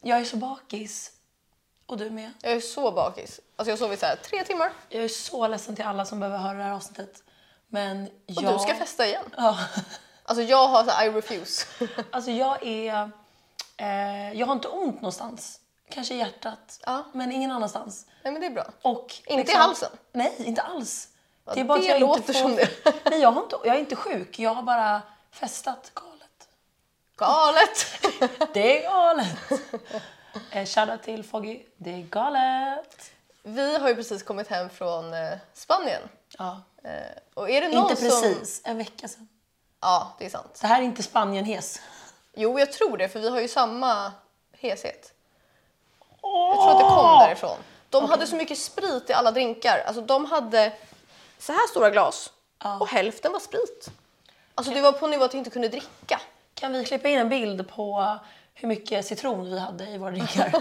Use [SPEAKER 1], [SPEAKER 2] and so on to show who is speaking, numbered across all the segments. [SPEAKER 1] Jag är så bakis. Och du med.
[SPEAKER 2] Jag är så bakis. Alltså jag sov i så här tre timmar.
[SPEAKER 1] Jag är så ledsen till alla som behöver höra det här avsnittet. Men
[SPEAKER 2] Och
[SPEAKER 1] jag...
[SPEAKER 2] du ska festa igen.
[SPEAKER 1] Ja.
[SPEAKER 2] Alltså jag har så här, I refuse.
[SPEAKER 1] Alltså jag är... Eh, jag har inte ont någonstans. Kanske i hjärtat.
[SPEAKER 2] Ja.
[SPEAKER 1] Men ingen annanstans.
[SPEAKER 2] Nej men det är bra.
[SPEAKER 1] Och liksom-
[SPEAKER 2] Inte i halsen?
[SPEAKER 1] Nej, inte alls.
[SPEAKER 2] Ja,
[SPEAKER 1] det är bara
[SPEAKER 2] det
[SPEAKER 1] att jag
[SPEAKER 2] låter
[SPEAKER 1] inte får...
[SPEAKER 2] som det.
[SPEAKER 1] Nej, jag, har inte, jag är inte sjuk. Jag har bara festat galet.
[SPEAKER 2] Galet!
[SPEAKER 1] Det är galet. Eh, Shoutout till Foggy. Det är galet.
[SPEAKER 2] Vi har ju precis kommit hem från eh, Spanien.
[SPEAKER 1] Ja.
[SPEAKER 2] Eh, och är det någon
[SPEAKER 1] Inte
[SPEAKER 2] Som...
[SPEAKER 1] precis, en vecka sedan.
[SPEAKER 2] Ja, det är sant.
[SPEAKER 1] Det här är inte Spanien-hes.
[SPEAKER 2] Jo, jag tror det för vi har ju samma heshet. Jag tror att det kom därifrån. De hade så mycket sprit i alla drinkar. Alltså de hade så här stora glas
[SPEAKER 1] Ja.
[SPEAKER 2] och hälften var sprit. Alltså det var på nivå att jag inte kunde dricka.
[SPEAKER 1] Kan vi klippa in en bild på hur mycket citron vi hade i våra drinkar?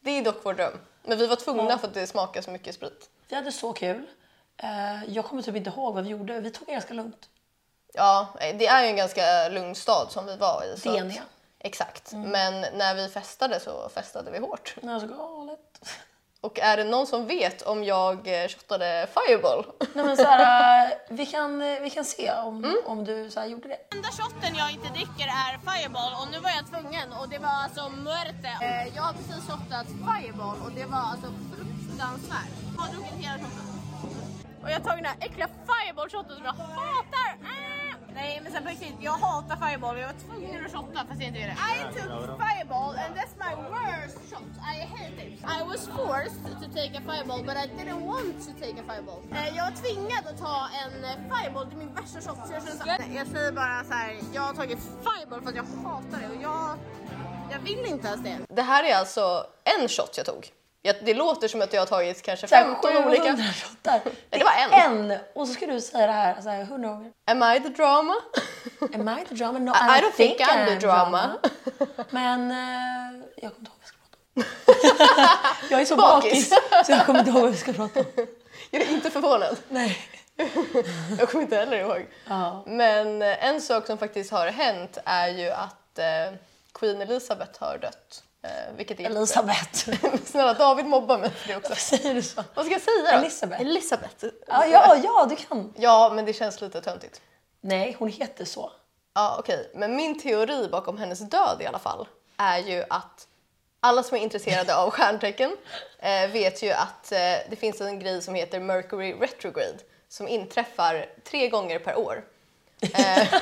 [SPEAKER 2] Det är dock vår dröm. Men vi var tvungna för att det smakar så mycket sprit.
[SPEAKER 1] vi hade så kul. Eh, Jag kommer typ inte ihåg vad vi gjorde. Vi tog det ganska lugnt.
[SPEAKER 2] Ja, eh, det är ju en ganska lugn stad som vi var i. så att-
[SPEAKER 1] Denia.
[SPEAKER 2] Exakt. Men när vi festade så festade vi hårt.
[SPEAKER 1] Men alltså galet.
[SPEAKER 2] Och är det någon som vet om jag eh, shottade fireball?
[SPEAKER 1] Nej, men så här, eh, vi, kan, eh, vi kan se om,
[SPEAKER 2] Mm.
[SPEAKER 1] om du så här gjorde det.
[SPEAKER 3] enda shotten jag inte dricker är Fireball och nu var jag tvungen och det var alltså muerte. Eh, jag har precis shottat Fireball och det var alltså fruktansvärt. Jag har druckit hela shotten. Och jag har tagit den här äckliga Fireball-shotten som jag hatar. Ah! Nej men sen på riktigt, jag hatar Fireball jag var tvungen att shotta fast jag inte ville. I took Fireball and that's my worst shot. I hate it. I was forced to take a Fireball but I didn't want to take a Fireball. Eh, jag var tvingad att ta en eh, Fireball, det är min värsta shot. Så jag, känner så här, jag säger bara så här, jag har tagit Fireball för att jag hatar det och jag, jag vill inte ens det.
[SPEAKER 2] Det här är alltså en shot jag tog. Jag, det låter som att jag har tagit kanske
[SPEAKER 1] Så här,
[SPEAKER 2] 15 olika.
[SPEAKER 1] shottar.
[SPEAKER 2] det var en.
[SPEAKER 1] En! Och så ska du säga det här så här, 100 gånger.
[SPEAKER 2] Am I the drama?
[SPEAKER 1] Am I the drama? No, I,
[SPEAKER 2] I don't think I'm the
[SPEAKER 1] Men eh, jag kommer inte ihåg vad vi ska prata om. jag är så bakis.
[SPEAKER 2] Bakis.
[SPEAKER 1] så jag kommer inte ihåg vad vi ska prata om.
[SPEAKER 2] jag är inte förvånad.
[SPEAKER 1] Nej.
[SPEAKER 2] Jag kommer inte heller ihåg.
[SPEAKER 1] Ja.
[SPEAKER 2] Men eh, en sak som faktiskt har hänt är ju att eh, Queen Elizabeth har dött. Eh, vilket är
[SPEAKER 1] Elisabeth.
[SPEAKER 2] Snälla David mobbar mig för det också.
[SPEAKER 1] Varför säger du så?
[SPEAKER 2] Vad ska jag säga då?
[SPEAKER 1] Elizabeth.
[SPEAKER 2] Elisabeth.
[SPEAKER 1] Ja, ja, ja, du kan.
[SPEAKER 2] Ja, men det känns lite töntigt.
[SPEAKER 1] Nej, hon heter så.
[SPEAKER 2] Ja, okej. Men min teori bakom hennes död i alla fall är ju att alla som är intresserade av stjärntecken eh, vet ju att eh, det finns en grej som heter Mercury Retrograde som inträffar tre gånger per år. Eh,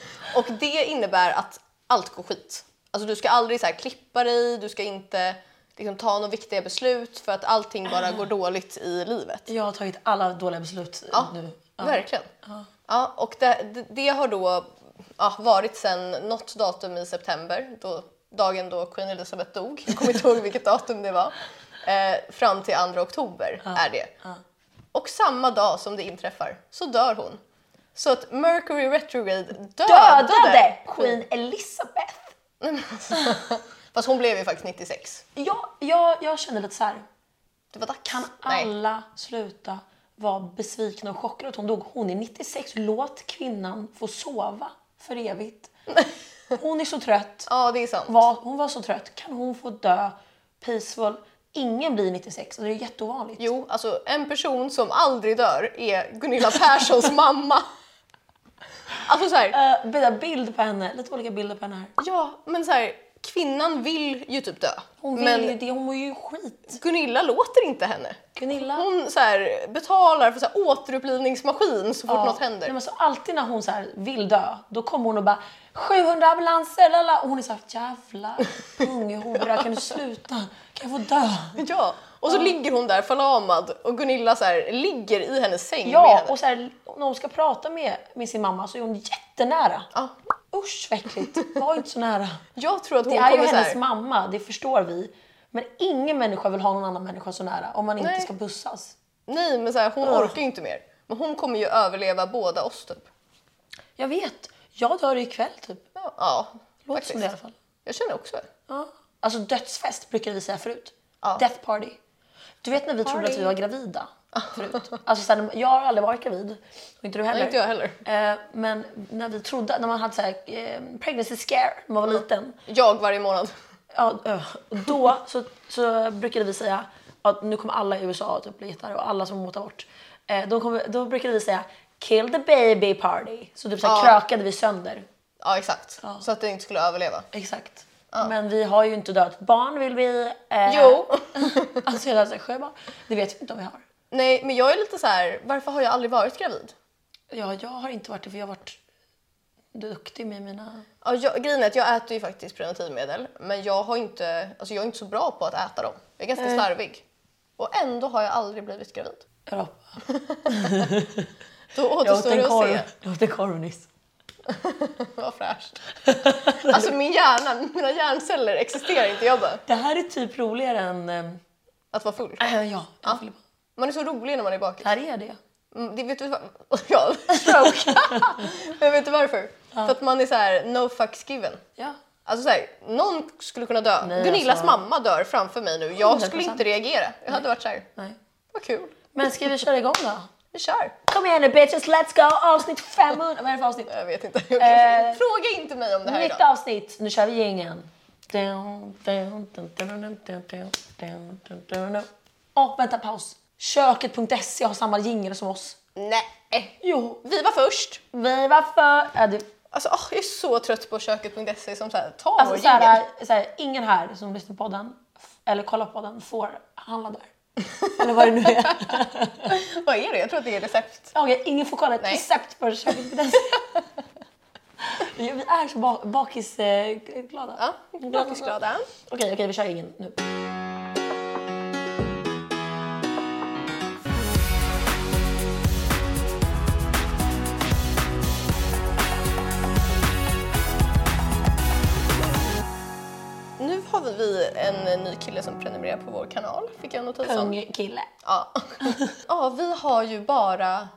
[SPEAKER 2] och det innebär att allt går skit. Alltså du ska aldrig så här, klippa dig, du ska inte liksom, ta några viktiga beslut för att allting bara går dåligt i livet.
[SPEAKER 1] Jag har tagit alla dåliga beslut eh, nu. Ja.
[SPEAKER 2] Verkligen. Ja. och det, det- det har då ja, varit sen något datum i september, då, dagen då Queen Elizabeth dog, jag kommer inte ihåg vilket datum det var, eh, fram till 2 oktober är det. Och samma dag som det inträffar så dör hon. Så att Mercury Retrograde dödade,
[SPEAKER 1] Dödade Queen Elizabeth.
[SPEAKER 2] Fast hon blev ju faktiskt 96.
[SPEAKER 1] Jag, jag, jag känner lite så här.
[SPEAKER 2] Det var dags.
[SPEAKER 1] Kan
[SPEAKER 2] Nej.
[SPEAKER 1] alla sluta vara besvikna och chockade att hon dog? Hon är 96. Låt kvinnan få sova för evigt. Hon är så trött.
[SPEAKER 2] Ja, det är sant.
[SPEAKER 1] Var, hon var så trött. Kan hon få dö peaceful? Ingen blir 96 och det är jätteovanligt.
[SPEAKER 2] Jo, alltså en person som aldrig dör är Gunilla Perssons mamma. Alltså så här,
[SPEAKER 1] Uh, bild på henne, lite olika bilder på henne här.
[SPEAKER 2] Ja, men så här, kvinnan vill ju typ dö.
[SPEAKER 1] Hon vill
[SPEAKER 2] men
[SPEAKER 1] ju det, hon mår ju skit.
[SPEAKER 2] Gunilla låter inte henne.
[SPEAKER 1] Gunilla.
[SPEAKER 2] Hon så här, betalar för så här, återupplivningsmaskin så fort
[SPEAKER 1] Ja.
[SPEAKER 2] något
[SPEAKER 1] Nej,
[SPEAKER 2] händer.
[SPEAKER 1] men så alltid när hon så här vill dö, då kommer hon och bara 700 ambulanser, lala. Och hon är såhär jävla punghora, kan du sluta? Kan jag få dö?
[SPEAKER 2] Ja. Och så ligger hon där förlamad och Gunilla så här, ligger i hennes säng med
[SPEAKER 1] Ja,
[SPEAKER 2] henne.
[SPEAKER 1] och så här, när hon ska prata med, med sin mamma så är hon jättenära.
[SPEAKER 2] Ja.
[SPEAKER 1] Usch vad äckligt, var inte så nära.
[SPEAKER 2] Jag tror att hon
[SPEAKER 1] Det är ju
[SPEAKER 2] kommer så
[SPEAKER 1] hennes
[SPEAKER 2] här,
[SPEAKER 1] mamma, det förstår vi. Men ingen människa vill ha någon annan människa så nära om man inte
[SPEAKER 2] Nej.
[SPEAKER 1] ska bussas.
[SPEAKER 2] Nej, men så här, hon
[SPEAKER 1] Ugh.
[SPEAKER 2] orkar ju inte mer. Men hon kommer ju överleva båda oss typ.
[SPEAKER 1] Jag vet, jag dör ikväll typ.
[SPEAKER 2] Ja, ja
[SPEAKER 1] Låter
[SPEAKER 2] faktiskt.
[SPEAKER 1] som det i alla fall.
[SPEAKER 2] Jag känner också det.
[SPEAKER 1] Ja. Alltså dödsfest brukade vi säga förut.
[SPEAKER 2] Ja.
[SPEAKER 1] Death party. Du vet när vi trodde att vi var gravida förut. Alltså, så här, jag har aldrig varit gravid. Och inte du heller.
[SPEAKER 2] Nej, inte jag heller.
[SPEAKER 1] Eh, men när vi trodde, när man hade så här, eh, pregnancy scare när man var liten.
[SPEAKER 2] Jag varje månad.
[SPEAKER 1] ja, ö, och då så, så brukade vi säga att nu kommer alla i USA typ bli gitarr och alla som motar bort. Eh, då, kommer, då brukade vi säga kill the baby party. Så typ så här,
[SPEAKER 2] Ja.
[SPEAKER 1] krökade vi sönder.
[SPEAKER 2] Ja, exakt. Så att det inte skulle överleva.
[SPEAKER 1] Exakt. Men vi har ju inte dödat barn vill vi. Eh,
[SPEAKER 2] Jo.
[SPEAKER 1] alltså hela Sjöba. Det vet vi inte om vi har.
[SPEAKER 2] Nej, men jag är lite så här, varför har jag aldrig varit gravid?
[SPEAKER 1] Ja, jag har inte varit det för jag har varit duktig med mina...
[SPEAKER 2] Ja, jag, grejen är att jag äter ju faktiskt preventivmedel, men jag, har inte, alltså jag är inte så bra på att äta dem. Jag är ganska
[SPEAKER 1] Nej.
[SPEAKER 2] slarvig. Och ändå har jag aldrig blivit gravid.
[SPEAKER 1] Jag
[SPEAKER 2] Då
[SPEAKER 1] åt
[SPEAKER 2] återstår
[SPEAKER 1] en
[SPEAKER 2] det att
[SPEAKER 1] korv,
[SPEAKER 2] se.
[SPEAKER 1] jag åt en korv nyss.
[SPEAKER 2] Vad fräscht. Alltså min hjärna, mina hjärnceller existerar inte. Jag bara,
[SPEAKER 1] Det här är typ roligare än... ehm,
[SPEAKER 2] att vara full.
[SPEAKER 1] Äh, ja, ja. Filippa.
[SPEAKER 2] Man är så rolig när man är bakis.
[SPEAKER 1] Det här är det.
[SPEAKER 2] Mm, Det vet du vad? Ja, stroke. Men vet du varför? För att man är så här no fucks given.
[SPEAKER 1] Ja.
[SPEAKER 2] Alltså så här, någon skulle kunna dö.
[SPEAKER 1] Nej,
[SPEAKER 2] Gunillas
[SPEAKER 1] alltså.
[SPEAKER 2] mamma dör framför mig nu. Jag skulle
[SPEAKER 1] 100%.
[SPEAKER 2] inte reagera. Jag hade varit så här,
[SPEAKER 1] Nej.
[SPEAKER 2] vad kul.
[SPEAKER 1] Men ska vi köra igång då?
[SPEAKER 2] Vi kör.
[SPEAKER 1] Kom igen nu bitches, let's go! Avsnitt 500! Vad är det för avsnitt?
[SPEAKER 2] Jag vet inte. Jag kan-
[SPEAKER 1] Eh,
[SPEAKER 2] Fråga inte mig om det här
[SPEAKER 1] Nytt
[SPEAKER 2] idag.
[SPEAKER 1] avsnitt! Nu kör vi gängen. Dun, dun, dun, dun, dun, dun, dun, dun, dun, dun, dun. Åh, vänta paus. Köket.se har samma jingel som oss.
[SPEAKER 2] Nej.
[SPEAKER 1] Jo.
[SPEAKER 2] Vi var först.
[SPEAKER 1] Vi var för... Ja, du,
[SPEAKER 2] Alltså, åh, jag är så trött på köket.se E som så här, tar vår
[SPEAKER 1] alltså, så
[SPEAKER 2] jingel.
[SPEAKER 1] här, så här, ingen här som lyssnar på podden f- eller kollar på podden får handla där. Eller vad det nu är.
[SPEAKER 2] Vad är det? Jag tror att det är recept.
[SPEAKER 1] Okej, ingen får kolla ett
[SPEAKER 2] Nej.
[SPEAKER 1] recept på köket.se. Vi vi är så ba- bakisglada.
[SPEAKER 2] Ja, bakisglada.
[SPEAKER 1] Okej, okej, vi kör ingen nu.
[SPEAKER 2] Nu har vi en ny kille som prenumererar på vår kanal, fick jag en notis om.
[SPEAKER 1] Ung kille.
[SPEAKER 2] Ja. ja, vi har ju bara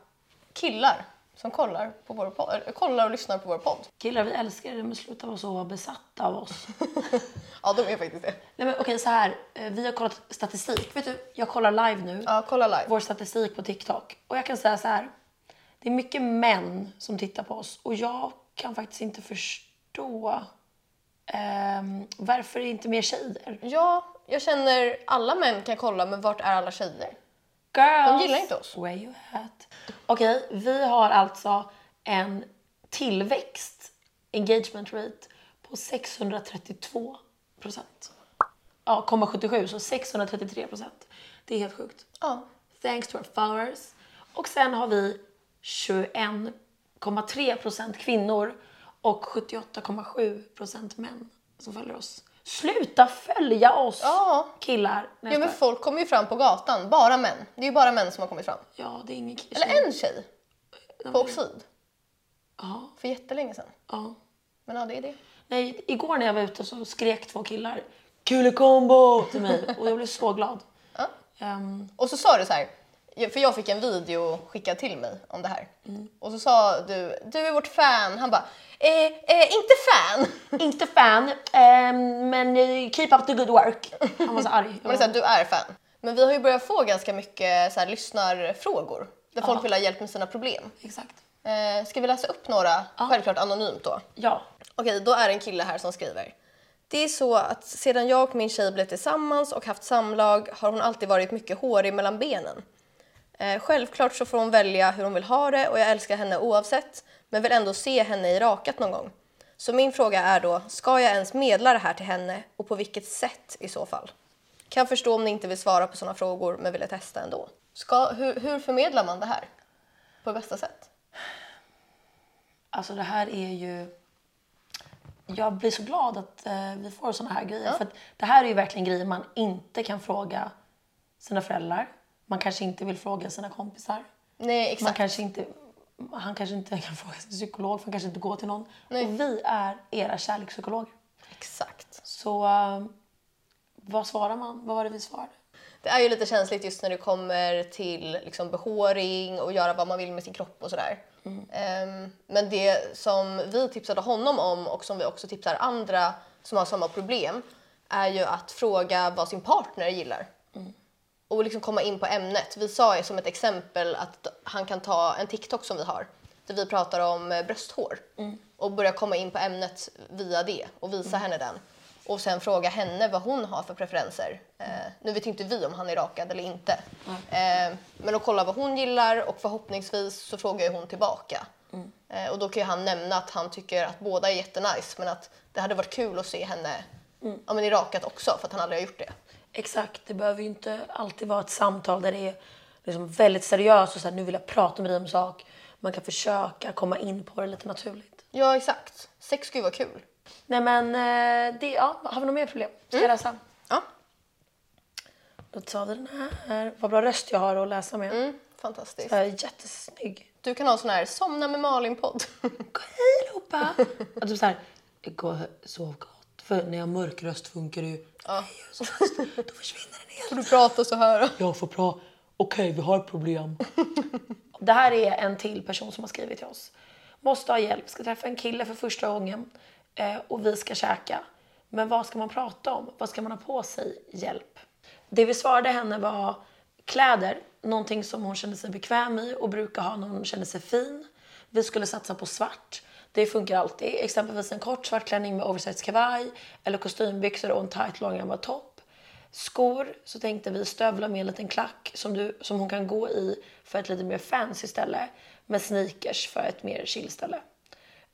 [SPEAKER 2] killar som kollar, på vår podd, eller, kollar och lyssnar på vår podd.
[SPEAKER 1] Killar, vi älskar er men sluta vara så besatta av oss.
[SPEAKER 2] Ja, de är faktiskt det.
[SPEAKER 1] Nej men okej så här, eh, vi har kollat statistik. Vet du, jag kollar live nu.
[SPEAKER 2] Ja, kolla live.
[SPEAKER 1] Vår statistik på TikTok. Och jag kan säga så här. Det är mycket män som tittar på oss och jag kan faktiskt inte förstå ehm, varför det inte är mer tjejer.
[SPEAKER 2] Ja, jag känner alla män kan kolla, men vart är alla tjejer?
[SPEAKER 1] Girls,
[SPEAKER 2] De gillar inte oss.
[SPEAKER 1] Where you at? Okej, vi har alltså en tillväxt, engagement rate, på 632 procent. Ja, 0,77 så 633 procent. Det är helt sjukt.
[SPEAKER 2] Ja.
[SPEAKER 1] Thanks to our followers. Och sen har vi 21,3 procent kvinnor och 78,7 procent män som följer oss. Sluta följa oss
[SPEAKER 2] Ja.
[SPEAKER 1] killar! Nej,
[SPEAKER 2] Ja, men
[SPEAKER 1] jag skojar.
[SPEAKER 2] folk kommer ju fram på gatan, bara män. Det är ju bara män som har kommit fram.
[SPEAKER 1] ja, det är ingen kille.
[SPEAKER 2] Eller en tjej
[SPEAKER 1] Nej,
[SPEAKER 2] på
[SPEAKER 1] men-
[SPEAKER 2] Oxid
[SPEAKER 1] Ja,
[SPEAKER 2] för jättelänge sedan.
[SPEAKER 1] ja.
[SPEAKER 2] Men ja, det är det.
[SPEAKER 1] Nej, igår när jag var ute så skrek två killar “Kule combo!” till mig och jag blev så glad.
[SPEAKER 2] Ja.
[SPEAKER 1] Ehm,
[SPEAKER 2] Och så sa du så här, för jag fick en video skickad till mig om det här. Och så sa du, du är vårt fan. Han bara, eh, eh, inte fan.
[SPEAKER 1] inte fan, ehm, men eh, keep up the good work. Han var så arg.
[SPEAKER 2] Men det är så här, du är fan. Men vi har ju börjat få ganska mycket så här, lyssnarfrågor där folk vill ha hjälp med sina problem.
[SPEAKER 1] Exakt.
[SPEAKER 2] Eh, ska vi läsa upp några? Självklart anonymt då.
[SPEAKER 1] Ja.
[SPEAKER 2] Okej, då är det en kille här som skriver. Det är så att sedan jag och min tjej blev tillsammans och haft samlag har hon alltid varit mycket hårig mellan benen. Eh, självklart så får hon välja hur hon vill ha det och jag älskar henne oavsett men vill ändå se henne i rakat någon gång. Så min fråga är då, ska jag ens medla det här till henne och på vilket sätt i så fall? Kan förstå om ni inte vill svara på sådana frågor men ville testa ändå. Ska, hur, hur förmedlar man det här? På bästa sätt?
[SPEAKER 1] Alltså det här är ju... Jag blir så glad att eh, vi får såna här grejer. För att det här är ju verkligen grejer man inte kan fråga sina föräldrar. Man kanske inte vill fråga sina kompisar.
[SPEAKER 2] Nej,
[SPEAKER 1] Man
[SPEAKER 2] exakt.
[SPEAKER 1] kanske inte, han kanske inte kan fråga sin psykolog, för han kanske inte går till någon.
[SPEAKER 2] Nej.
[SPEAKER 1] Och vi är era kärlekspsykologer.
[SPEAKER 2] Exakt.
[SPEAKER 1] Så eh, vad svarar man? Vad var det vi svarade?
[SPEAKER 2] Det är ju lite känsligt just när det kommer till liksom behåring och göra vad man vill med sin kropp och sådär. Ehm, men det som vi tipsade honom om och som vi också tipsar andra som har samma problem är ju att fråga vad sin partner gillar. Och liksom komma in på ämnet. Vi sa ju som ett exempel att han kan ta en TikTok som vi har där vi pratar om eh, brösthår och börja komma in på ämnet via det och visa henne den. och sen fråga henne vad hon har för preferenser. Eh, nu vet ju inte vi om han är rakad eller inte. Eh, men att kolla vad hon gillar och förhoppningsvis så frågar ju hon tillbaka. Eh, och då kan ju han nämna att han tycker att båda är jättenice men att det hade varit kul att se henne ja, men i rakat också för att han aldrig har gjort det.
[SPEAKER 1] Exakt, det behöver ju inte alltid vara ett samtal där det är liksom väldigt seriöst och så här, nu vill jag prata med dig om sak. Man kan försöka komma in på det lite naturligt.
[SPEAKER 2] Ja exakt, sex skulle vara kul.
[SPEAKER 1] Nej men, eh, det, ja, har vi något mer problem? Ska jag läsa?
[SPEAKER 2] Ja,
[SPEAKER 1] Då tar vi den här. Vad bra röst jag har att läsa med.
[SPEAKER 2] mm, fantastiskt.
[SPEAKER 1] Jag är jättesnygg.
[SPEAKER 2] Du kan ha sån här somna med Malin-podd.
[SPEAKER 1] Gå hej allihopa! Och typ såhär, gå sov gott. För när jag har mörk röst funkar det ju.
[SPEAKER 2] Ja.
[SPEAKER 1] Hej, och så fast, Då försvinner den helt.
[SPEAKER 2] Får du prata så här?
[SPEAKER 1] Jag får bra. Okej, vi har problem. Det här är en till person som har skrivit till oss. Måste ha hjälp, ska träffa en kille för första gången eh, och vi ska käka. Men vad ska man prata om? Vad ska man ha på sig? Hjälp. Det vi svarade henne var kläder, någonting som hon kände sig bekväm i och brukar ha när hon känner sig fin. Vi skulle satsa på svart. Det funkar alltid. Exempelvis en kort svart klänning med oversized kavaj eller kostymbyxor och en tight långärmad topp. Skor så tänkte vi stövlar med en liten klack som, du, som hon kan gå i för ett lite mer fancy ställe. Men sneakers för ett mer chill ställe.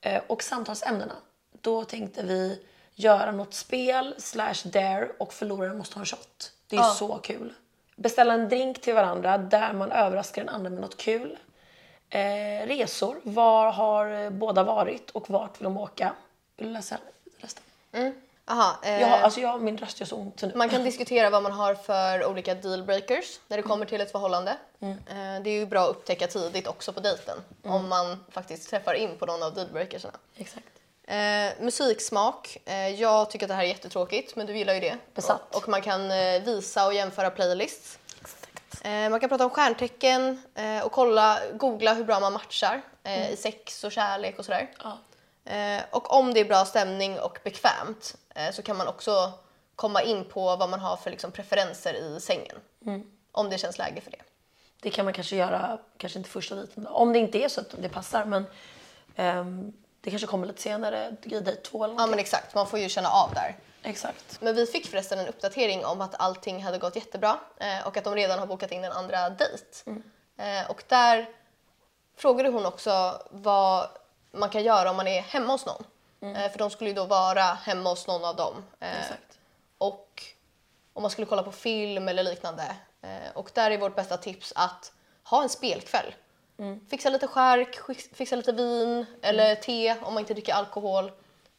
[SPEAKER 1] Eh, och samtalsämnena. Då tänkte vi göra något spel slash dare och förloraren måste ha en shot. Det är ju så kul. Beställa en drink till varandra där man överraskar den andra med något kul. Eh, resor. Var har eh, båda varit och vart vill de åka? Vill du läsa resten?
[SPEAKER 2] Aha, eh,
[SPEAKER 1] Jag har, alltså jag, min röst gör så ont nu.
[SPEAKER 2] Man kan diskutera vad man har för olika dealbreakers när det kommer till ett förhållande. Eh, Det är ju bra att upptäcka tidigt också på dejten om man faktiskt träffar in på någon av dealbreakersarna.
[SPEAKER 1] Exakt.
[SPEAKER 2] Eh, musiksmak. Eh, jag tycker att det här är jättetråkigt men du gillar ju det.
[SPEAKER 1] Besatt.
[SPEAKER 2] Och, och man kan eh, visa och jämföra playlists. Eh, man kan prata om stjärntecken eh, och kolla, googla hur bra man matchar eh, i sex och kärlek och sådär.
[SPEAKER 1] Ja.
[SPEAKER 2] Eh, och om det är bra stämning och bekvämt eh, så kan man också komma in på vad man har för liksom, preferenser i sängen. Om det känns läge för det.
[SPEAKER 1] Det kan man kanske göra, kanske inte första dejten då. Om det inte är så att det passar men ehm, det kanske kommer lite senare, i dejt två eller
[SPEAKER 2] Ja
[SPEAKER 1] något.
[SPEAKER 2] men exakt, man får ju känna av där.
[SPEAKER 1] Exakt.
[SPEAKER 2] Men vi fick förresten en uppdatering om att allting hade gått jättebra eh, och att de redan har bokat in en andra dejt.
[SPEAKER 1] Mm.
[SPEAKER 2] Eh, Och där frågade hon också vad man kan göra om man är hemma hos någon.
[SPEAKER 1] Mm.
[SPEAKER 2] Eh, För de skulle ju då vara hemma hos någon av dem. Eh,
[SPEAKER 1] Exakt.
[SPEAKER 2] Och om man skulle kolla på film eller liknande. Eh, Och där är vårt bästa tips att ha en spelkväll.
[SPEAKER 1] Mm.
[SPEAKER 2] Fixa lite skärk, skix- fixa lite vin eller te om man inte dricker alkohol.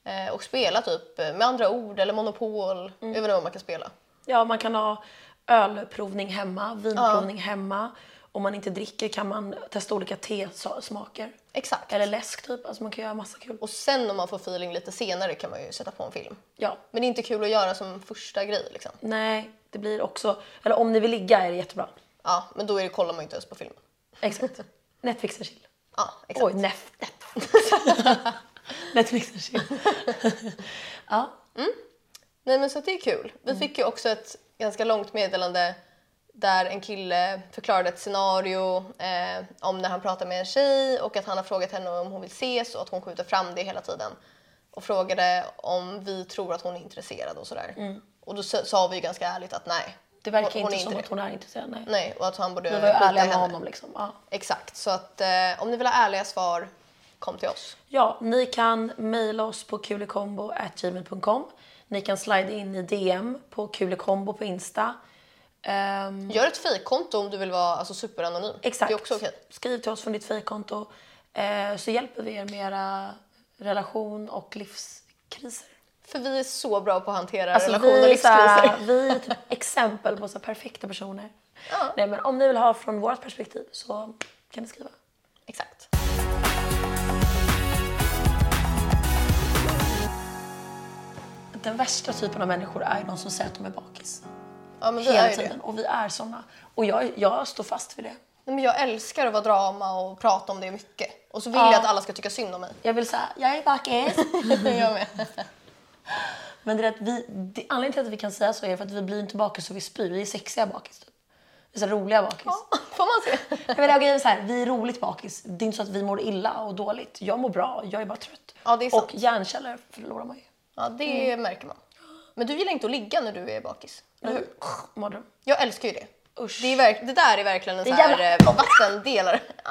[SPEAKER 2] Eh, Och spela typ eh, med andra ord eller
[SPEAKER 1] Mm.
[SPEAKER 2] monopol. Jag vet inte vad man kan spela.
[SPEAKER 1] Ja, man kan ha ölprovning hemma, vinprovning hemma. Om man inte dricker kan man testa olika tesmaker.
[SPEAKER 2] Exakt.
[SPEAKER 1] Eller läsk typ. Alltså man kan göra massa kul.
[SPEAKER 2] Och sen om man får feeling lite senare kan man ju sätta på en film.
[SPEAKER 1] Ja.
[SPEAKER 2] Men det är inte kul att göra som första grej liksom.
[SPEAKER 1] Nej, det blir också... Eller om ni vill ligga är det jättebra.
[SPEAKER 2] Ja, men då är det, kollar man ju inte ens på filmen.
[SPEAKER 1] Exakt. Netflix and chill.
[SPEAKER 2] Ja, exakt.
[SPEAKER 1] Oj, nef- Netflix. Netflix and chill. ja,
[SPEAKER 2] Nej men så att det är kul. Vi
[SPEAKER 1] Mm.
[SPEAKER 2] fick ju också ett ganska långt meddelande där en kille förklarade ett scenario eh, om när han pratar med en tjej och att han har frågat henne om hon vill ses och att hon skjuter fram det hela tiden. Och frågade om vi tror att hon är intresserad och sådär. Och då sa sa vi ju ganska ärligt att nej.
[SPEAKER 1] Mm. det verkar
[SPEAKER 2] hon,
[SPEAKER 1] inte
[SPEAKER 2] är
[SPEAKER 1] som
[SPEAKER 2] det.
[SPEAKER 1] att hon är intresserad. Nej.
[SPEAKER 2] Nej, och att han borde
[SPEAKER 1] Vi var ju
[SPEAKER 2] skjuta
[SPEAKER 1] ärliga med
[SPEAKER 2] Eh, henne.
[SPEAKER 1] honom liksom. Ja.
[SPEAKER 2] Exakt, så att eh, om ni vill ha ärliga svar, kom till oss.
[SPEAKER 1] Ja, ni kan mejla oss på kulikombo.gmail.com. Ni kan slida in i DM på kulikombo på Insta. Ehm,
[SPEAKER 2] Gör ett fejkkonto om du vill vara alltså, superanonym.
[SPEAKER 1] exakt.
[SPEAKER 2] Det är också okej.
[SPEAKER 1] Skriv till oss från ditt fejkkonto eh, så hjälper vi er med era relation och livskriser.
[SPEAKER 2] För vi är så bra på att hantera
[SPEAKER 1] Alltså,
[SPEAKER 2] relationer och
[SPEAKER 1] vi, är så här-
[SPEAKER 2] livskriser.
[SPEAKER 1] vi är typ exempel på så här perfekta personer. Nej, men om ni vill ha från vårt perspektiv så kan ni skriva.
[SPEAKER 2] Exakt.
[SPEAKER 1] Den värsta typen av människor är de som säger att de är bakis.
[SPEAKER 2] Ja, men vi
[SPEAKER 1] Hela
[SPEAKER 2] är ju det.
[SPEAKER 1] tiden. Och vi är såna. Och jag, jag står fast vid det.
[SPEAKER 2] Nej, men jag älskar att vara drama och prata om det mycket. Och så vill
[SPEAKER 1] Ja.
[SPEAKER 2] jag att alla ska tycka synd om mig.
[SPEAKER 1] Jag vill säga, jag är bakis.
[SPEAKER 2] jag med.
[SPEAKER 1] Men det är att vi, det, anledningen till att vi kan säga så är för att vi blir inte bakis så vi spyr. Vi är sexiga bakis. Typ. Vi är så här roliga bakis.
[SPEAKER 2] Får man se?
[SPEAKER 1] Jag menar, grejen är så här, vi är roligt bakis. Det är inte så att vi mår illa och dåligt. Jag mår bra, jag är bara trött.
[SPEAKER 2] Ja, det är sant.
[SPEAKER 1] Och hjärnceller förlorar man ju.
[SPEAKER 2] Mm. Ja, det märker man. Men du gillar inte att ligga när du är bakis, eller hur?
[SPEAKER 1] Mardröm.
[SPEAKER 2] Jag älskar ju det.
[SPEAKER 1] Usch.
[SPEAKER 2] Det, är verk- det där är verkligen en sån
[SPEAKER 1] är
[SPEAKER 2] här eh, vattendelare. Ja.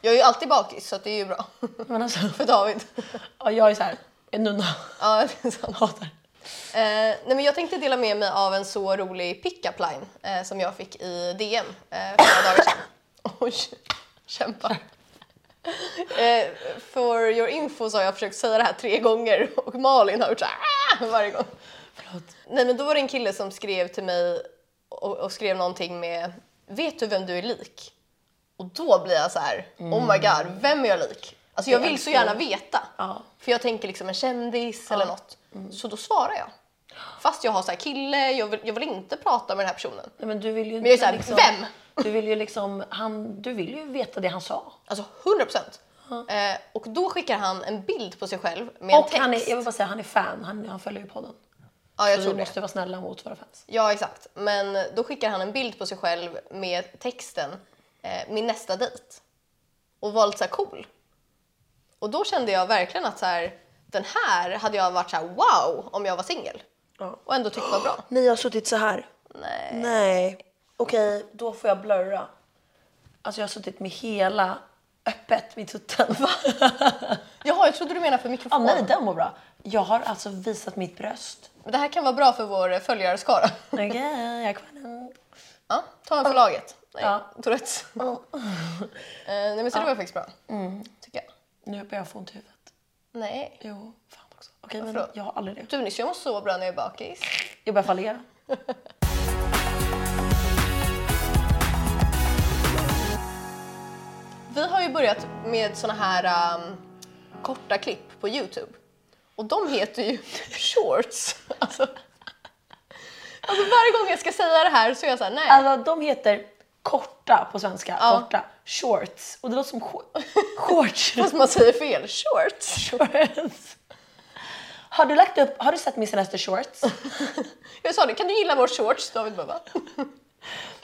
[SPEAKER 2] Jag är ju alltid bakis så att det är ju bra
[SPEAKER 1] Men alltså,
[SPEAKER 2] för David.
[SPEAKER 1] ja, jag är så här, en nunna.
[SPEAKER 2] Ja, det är sant.
[SPEAKER 1] Hatar.
[SPEAKER 2] Eh, nej, men jag tänkte dela med mig av en så rolig pick-up line eh, som jag fick i DM eh, för några dagar sedan. Oj, kämpa. Eh, for your info så har jag försökt säga det här tre gånger och Malin har gjort så här "Ah!" varje gång.
[SPEAKER 1] Förlåt.
[SPEAKER 2] Nej men då var det en kille som skrev till mig och, och skrev någonting med “Vet du vem du är lik?” Och då blir jag så här “Oh my god, vem är jag lik?” Alltså jag
[SPEAKER 1] Det är
[SPEAKER 2] vill så
[SPEAKER 1] så-
[SPEAKER 2] gärna veta.
[SPEAKER 1] Ja. Mm.
[SPEAKER 2] För jag tänker liksom en kändis eller något. Så då svarar jag. Fast jag har så här kille, jag vill, jag vill inte prata med den här personen.
[SPEAKER 1] Nej, men du vill ju
[SPEAKER 2] Men jag är
[SPEAKER 1] inte
[SPEAKER 2] så här,
[SPEAKER 1] liksom- Du vill ju liksom, han, du vill ju veta det han sa.
[SPEAKER 2] Alltså 100 procent. Eh, och då skickar han en bild på sig själv med en
[SPEAKER 1] Och
[SPEAKER 2] text.
[SPEAKER 1] han är, jag vill bara säga, han är fan, han, han följer ju podden.
[SPEAKER 2] ja, jag
[SPEAKER 1] Så
[SPEAKER 2] tror
[SPEAKER 1] vi
[SPEAKER 2] det.
[SPEAKER 1] måste vara snälla mot våra fans.
[SPEAKER 2] Ja, exakt. Men då skickar han en bild på sig själv med texten eh, “Min nästa dejt” och valt så här cool. Och då kände jag verkligen att så här, den här hade jag varit så här “wow” om jag var singel.
[SPEAKER 1] Ja.
[SPEAKER 2] Och ändå tyckt var bra.
[SPEAKER 1] Ni har suttit så här.
[SPEAKER 2] Nej.
[SPEAKER 1] Nej. Okej, då får jag blurra. Alltså jag har suttit med hela öppet vid tutten.
[SPEAKER 2] Jaha, jag trodde du menade för
[SPEAKER 1] Ja,
[SPEAKER 2] mikrofonen.
[SPEAKER 1] nej, den mår bra. Jag har alltså visat mitt bröst.
[SPEAKER 2] Men det här kan vara bra för vår följarskara.
[SPEAKER 1] Okej, jag är kvar nu.
[SPEAKER 2] Ja, ta en för laget. Nej,
[SPEAKER 1] Ja.
[SPEAKER 2] Tourettes. Eh, Nej men så det var faktiskt bra. Tycker jag.
[SPEAKER 1] Nu börjar jag få ont i huvudet.
[SPEAKER 2] Nej.
[SPEAKER 1] Jo, fan också. Okej, men
[SPEAKER 2] Förlåt.
[SPEAKER 1] jag har aldrig det.
[SPEAKER 2] Du Nisse, jag mår så bra när jag är bakis.
[SPEAKER 1] Jag börjar fallera.
[SPEAKER 2] Vi har ju börjat med såna här ehm, korta klipp på Youtube. Och de heter ju shorts. Alltså, alltså varje gång jag ska säga det här så är jag såhär, nej.
[SPEAKER 1] Alltså de heter korta på svenska.
[SPEAKER 2] Ja.
[SPEAKER 1] Korta. Shorts. Och det låter som sh- shorts.
[SPEAKER 2] Fast man säger fel. Shorts.
[SPEAKER 1] shorts. Har du lagt upp, har du sett min senaste shorts?
[SPEAKER 2] Jag sa det, kan du gilla vår shorts David Bubba?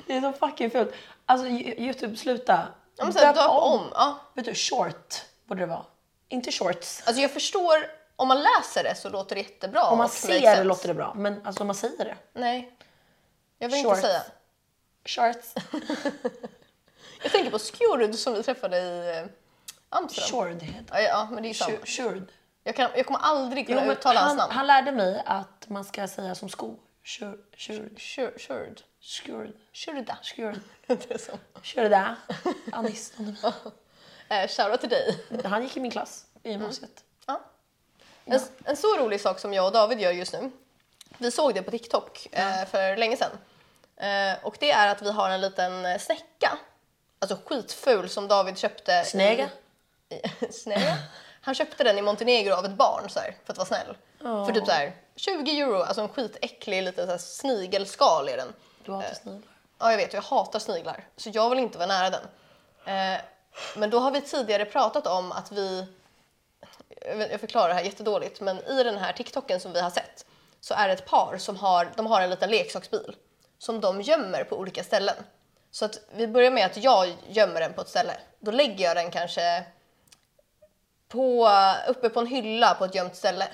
[SPEAKER 1] Det är så fucking fult. Alltså Yo- Youtube, sluta.
[SPEAKER 2] Ja, men så här, döp om. Ja.
[SPEAKER 1] Vet du, short borde det vara. Inte shorts.
[SPEAKER 2] Alltså jag förstår, om man läser det så låter det jättebra.
[SPEAKER 1] Om man
[SPEAKER 2] och
[SPEAKER 1] ser
[SPEAKER 2] makes
[SPEAKER 1] det
[SPEAKER 2] sense.
[SPEAKER 1] låter det bra, men alltså om man säger det.
[SPEAKER 2] Nej. Jag vill
[SPEAKER 1] Shorts.
[SPEAKER 2] inte säga.
[SPEAKER 1] Shorts.
[SPEAKER 2] Jag tänker på Skjord som vi träffade i eh, Amsterdam.
[SPEAKER 1] Shord heter
[SPEAKER 2] Ja, ja, men det är ju samma.
[SPEAKER 1] det. Shord.
[SPEAKER 2] Jag, kan, jag kommer aldrig
[SPEAKER 1] Jo,
[SPEAKER 2] kunna
[SPEAKER 1] men
[SPEAKER 2] uttala hans
[SPEAKER 1] han,
[SPEAKER 2] namn.
[SPEAKER 1] han lärde mig att man ska säga som sko. Shord. Shord.
[SPEAKER 2] Shur- Shurd.
[SPEAKER 1] Shord.
[SPEAKER 2] Shurda.
[SPEAKER 1] Shord.
[SPEAKER 2] Det är så.
[SPEAKER 1] Kör det där. Anis. någon av
[SPEAKER 2] Eh, Shoutout till dig.
[SPEAKER 1] mina. Han gick i min klass i
[SPEAKER 2] Mm.
[SPEAKER 1] gymnasiet.
[SPEAKER 2] Ja. En, en så rolig sak som jag och David gör just nu. Vi såg det på TikTok eh, för länge sedan. Eh, och det är att vi har en liten eh, snäcka. Alltså skitful som David köpte. i-
[SPEAKER 1] Snäga.
[SPEAKER 2] i- Snäga. Han köpte den i Montenegro av ett barn så här, för att vara snäll. För typ så här, 20 euro, alltså en skitäcklig liten så här, snigelskal är den.
[SPEAKER 1] Du hatar
[SPEAKER 2] Eh,
[SPEAKER 1] sniglar.
[SPEAKER 2] Ja, jag vet. Jag hatar sniglar. Så jag vill inte vara nära den. Eh, men då har vi tidigare pratat om att vi... jag vet- Jag förklarar det här jättedåligt, men i den här TikToken som vi har sett så är det ett par som har, de har en liten leksaksbil som de gömmer på olika ställen. Så att vi börjar med att jag gömmer den på ett ställe. Då lägger jag den kanske på, uppe på en hylla på ett gömt ställe.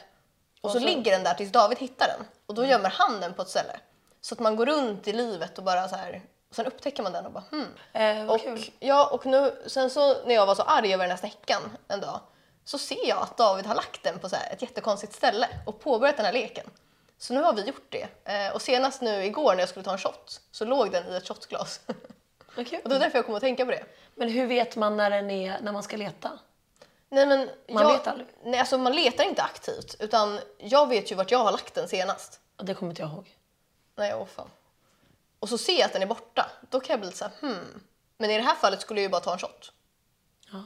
[SPEAKER 2] Och så, Mm. ligger den där tills David hittar den. Och då gömmer han den på ett ställe. Så att man går runt i livet och bara så här. Sen upptäcker man den och bara hmm.
[SPEAKER 1] Eh, vad
[SPEAKER 2] och,
[SPEAKER 1] kul.
[SPEAKER 2] ja, och nu, sen så när jag var så arg över den här snäckan en dag så ser jag att David har lagt den på så här ett jättekonstigt ställe och påbörjat den här leken. Så nu har vi gjort det. Eh, och senast nu igår när jag skulle ta en shot så låg den i ett shotglas.
[SPEAKER 1] Vad kul.
[SPEAKER 2] och det var därför jag kom att tänka på det.
[SPEAKER 1] Men hur vet man när, den är, när man ska leta?
[SPEAKER 2] Nej, men
[SPEAKER 1] Man
[SPEAKER 2] jag,
[SPEAKER 1] vet aldrig.
[SPEAKER 2] Nej, alltså man letar inte aktivt utan jag vet ju vart jag har lagt den senast.
[SPEAKER 1] Ja, Det kommer inte jag ihåg.
[SPEAKER 2] Nej, åh fan. Och så ser jag att den är borta. Då kan jag bli lite såhär, hmm. Men i det här fallet skulle jag ju bara ta en shot.
[SPEAKER 1] Ja.